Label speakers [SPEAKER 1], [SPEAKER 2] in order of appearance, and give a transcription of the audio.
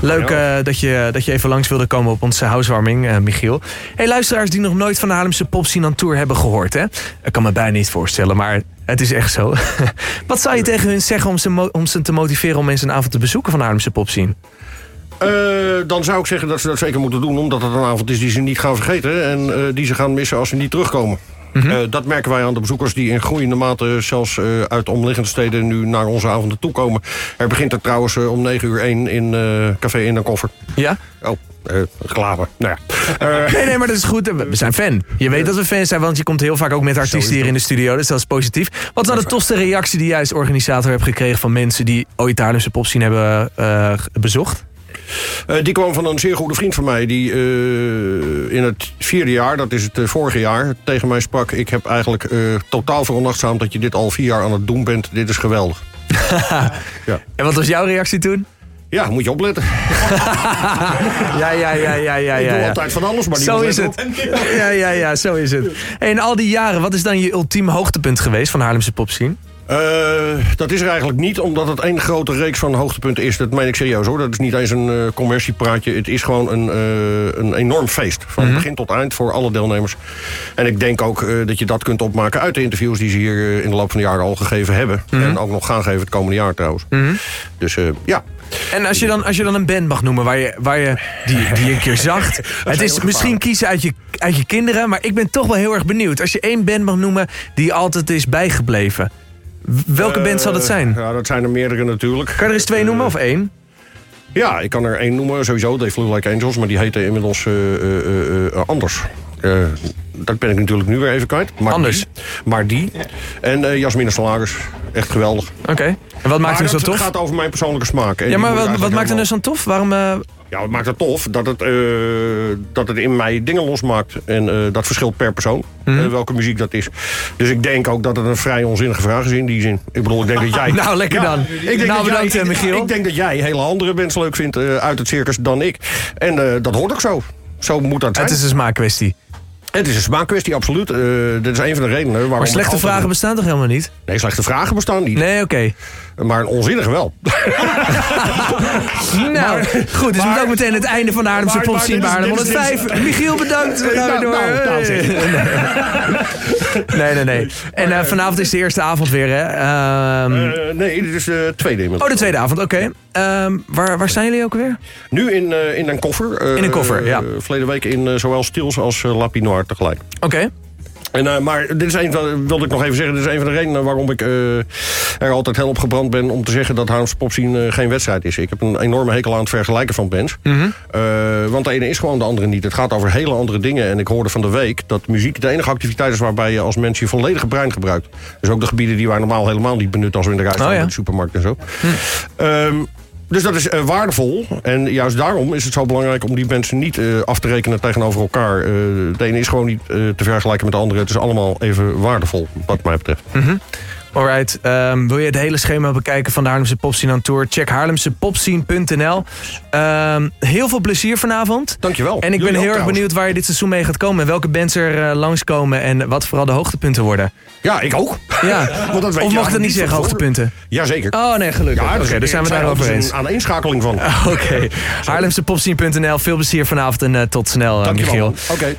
[SPEAKER 1] Leuk eh, dat, je, dat je even langs wilde komen op onze housewarming, eh, Michiel. Hey, luisteraars die nog nooit van de Haarlemse popscene aan tour hebben gehoord, hè? Ik kan me bijna niet voorstellen, maar het is echt zo. Wat zou je tegen hun zeggen om ze, mo- om ze te motiveren om eens een avond te bezoeken van de Haarlemse popscene?
[SPEAKER 2] Eh, dan zou ik zeggen dat ze dat zeker moeten doen, omdat het een avond is die ze niet gaan vergeten en eh, die ze gaan missen als ze niet terugkomen. Eh, dat merken wij aan de bezoekers die in groeiende mate zelfs eh, uit omliggende steden nu naar onze avonden toekomen. Er begint er trouwens eh, om 9 uur 1 in eh, Café In en Koffer.
[SPEAKER 1] Ja?
[SPEAKER 2] Oh, eh glaber. Nou ja. Eh,
[SPEAKER 1] Nee, nee, maar dat is goed. We we zijn fan. Je weet dat we fan zijn, want je komt heel vaak ook met artiesten hier in de studio. Dus dat is positief. Wat is nou de tofste reactie die jij als organisator hebt gekregen van mensen die ooit de Haarlemse popscene hebben eh, bezocht?
[SPEAKER 2] Eh, die kwam van een zeer goede vriend van mij. Die eh, in het vierde jaar, dat is het eh, vorige jaar, tegen mij sprak... ik heb eigenlijk eh, totaal veronachtzaamd dat je dit al vier jaar aan het doen bent. Dit is geweldig.
[SPEAKER 1] En wat was jouw reactie toen?
[SPEAKER 2] Ja, moet je opletten.
[SPEAKER 1] Ja, ja, ja, ja, ja.
[SPEAKER 2] ik
[SPEAKER 1] ja,
[SPEAKER 2] doe
[SPEAKER 1] ja.
[SPEAKER 2] altijd van alles, maar die
[SPEAKER 1] Zo
[SPEAKER 2] moet
[SPEAKER 1] is
[SPEAKER 2] letten
[SPEAKER 1] het. Ja, ja, ja, zo is het. Hey, in al die jaren, wat is dan je ultiem hoogtepunt geweest van Haarlemse popscene?
[SPEAKER 2] op. Eh, dat is er eigenlijk niet, omdat het één grote reeks van hoogtepunten is. Dat meen ik serieus hoor. Dat is niet eens een eh, commerciepraatje. Het is gewoon een, eh, een enorm feest. Van
[SPEAKER 1] Mhm.
[SPEAKER 2] begin tot eind voor alle deelnemers. En ik denk ook eh, dat je dat kunt opmaken uit de interviews... die ze hier eh, in de loop van de jaren al gegeven hebben.
[SPEAKER 1] Mhm.
[SPEAKER 2] En ook nog gaan geven het komende jaar trouwens. Dus eh, ja,
[SPEAKER 1] En als je dan, als je dan een band mag noemen waar je, waar je die, die je een keer zag. Het is misschien kiezen uit je, uit je kinderen, maar ik ben toch wel heel erg benieuwd. Als je één band mag noemen die je altijd is bijgebleven. w- Welke band zal dat
[SPEAKER 2] Eh,
[SPEAKER 1] zijn?
[SPEAKER 2] Ja, dat zijn er meerdere natuurlijk.
[SPEAKER 1] Kan je er eens twee noemen of één?
[SPEAKER 2] Ja, ik kan er één noemen. Sowieso, They Flew Like Angels. Maar die heette inmiddels eh, eh, eh, eh, anders. Eh, dat ben ik natuurlijk nu weer even kwijt. Maar
[SPEAKER 1] Anders.
[SPEAKER 2] Die, maar die. En eh Jasmine Salagers. Echt geweldig.
[SPEAKER 1] Oké. En wat maakt
[SPEAKER 2] maar
[SPEAKER 1] hem zo
[SPEAKER 2] dat
[SPEAKER 1] tof?
[SPEAKER 2] gaat over mijn persoonlijke smaak. En
[SPEAKER 1] Ja,
[SPEAKER 2] die
[SPEAKER 1] maar
[SPEAKER 2] moet ik
[SPEAKER 1] wat, wat
[SPEAKER 2] eigenlijk
[SPEAKER 1] maakt hem
[SPEAKER 2] helemaal-
[SPEAKER 1] nou zo tof? Waarom. eh,
[SPEAKER 2] Ja, wat maakt het tof? Dat het, eh, dat het in mij dingen losmaakt. En eh, dat verschilt per persoon. eh,
[SPEAKER 1] Mhm.
[SPEAKER 2] welke muziek dat is. Dus ik denk ook dat het een vrij onzinnige vraag is in die zin. Ik bedoel, ik denk dat jij...
[SPEAKER 1] Nou, lekker dan. Nou,
[SPEAKER 2] dat
[SPEAKER 1] bedankt,
[SPEAKER 2] jij,
[SPEAKER 1] eh, Michiel.
[SPEAKER 2] Ik denk dat jij hele andere mensen leuk vindt eh, uit het circus dan ik. En eh, dat hoort ook zo. Zo moet dat zijn.
[SPEAKER 1] het is een smaakkwestie.
[SPEAKER 2] een smaakkwestie, absoluut. Eh, dit is een van de redenen waarom...
[SPEAKER 1] Maar
[SPEAKER 2] ik
[SPEAKER 1] slechte
[SPEAKER 2] altijd-
[SPEAKER 1] vragen bestaan toch helemaal niet?
[SPEAKER 2] Nee, slechte vragen bestaan niet.
[SPEAKER 1] Nee, oké.
[SPEAKER 2] Maar een onzinnige wel.
[SPEAKER 1] Nou, goed, dus
[SPEAKER 2] maar-
[SPEAKER 1] moet ook meteen het einde van de Haarlemse
[SPEAKER 2] maar-
[SPEAKER 1] pop
[SPEAKER 2] maar
[SPEAKER 1] zien
[SPEAKER 2] dit
[SPEAKER 1] bij
[SPEAKER 2] is-
[SPEAKER 1] Haarlem
[SPEAKER 2] dit is-
[SPEAKER 1] 105. Michiel, bedankt. We gaan weer
[SPEAKER 2] Nou,
[SPEAKER 1] door.
[SPEAKER 2] nou, nou, zeg.
[SPEAKER 1] Nee, nee, nee. En eh, vanavond is de eerste avond weer, hè? Ehm,
[SPEAKER 2] Eh, nee, dit is de tweede inmiddels.
[SPEAKER 1] oh, de tweede avond, oké. Ehm, waar, waar zijn jullie ook weer?
[SPEAKER 2] Nu in, eh, in een koffer. eh,
[SPEAKER 1] In een koffer, ja.
[SPEAKER 2] eh, verleden week in eh, zowel Stils als eh, Lapinoir tegelijk.
[SPEAKER 1] Oké.
[SPEAKER 2] En, eh, maar dit is een van, wilde ik nog even zeggen, dit is een van de redenen waarom ik eh, er altijd heel op gebrand ben om te zeggen dat Haarlemse popscene eh, geen wedstrijd is. Ik heb een enorme hekel aan het vergelijken van bands.
[SPEAKER 1] Mhm.
[SPEAKER 2] Eh, want de ene is gewoon de andere niet. Het gaat over hele andere dingen. En ik hoorde van de week dat muziek de enige activiteit is waarbij je als mens je volledige brein gebruikt. Dus ook de gebieden die wij normaal helemaal niet benutten als we in de rij staan
[SPEAKER 1] Oh ja.
[SPEAKER 2] bij de supermarkt en zo. Ehm, dus dat is eh, waardevol. En juist daarom is het zo belangrijk om die mensen niet eh, af te rekenen tegenover elkaar. Eh, de ene is gewoon niet eh, te vergelijken met de andere. Het is allemaal even waardevol, wat mij betreft.
[SPEAKER 1] Alright, ehm, wil je het hele schema bekijken van de Haarlemse Popscene aan Tour? Check haarlemsepopscene.nl. Ehm, heel veel plezier vanavond.
[SPEAKER 2] Dankjewel.
[SPEAKER 1] En ik ben
[SPEAKER 2] Jullie ook
[SPEAKER 1] heel erg
[SPEAKER 2] trouwens.
[SPEAKER 1] benieuwd waar je dit seizoen mee gaat komen. En welke bands er eh, langskomen en wat vooral de hoogtepunten worden.
[SPEAKER 2] Ja, ik ook.
[SPEAKER 1] Ja,
[SPEAKER 2] Want dat weet
[SPEAKER 1] of
[SPEAKER 2] je eigenlijk
[SPEAKER 1] mag ik dat niet
[SPEAKER 2] niet
[SPEAKER 1] zeggen,
[SPEAKER 2] van tevoren.
[SPEAKER 1] hoogtepunten?
[SPEAKER 2] Jazeker.
[SPEAKER 1] Oh nee, gelukkig. Oké,
[SPEAKER 2] dus
[SPEAKER 1] daar zijn we
[SPEAKER 2] het
[SPEAKER 1] daar
[SPEAKER 2] altijd
[SPEAKER 1] over eens. Oh.
[SPEAKER 2] een aaneenschakeling van.
[SPEAKER 1] Oké, Haarlemsepopscene.nl. Veel plezier vanavond en eh, tot snel, eh,
[SPEAKER 2] Dankjewel.
[SPEAKER 1] Michiel.
[SPEAKER 2] Oké.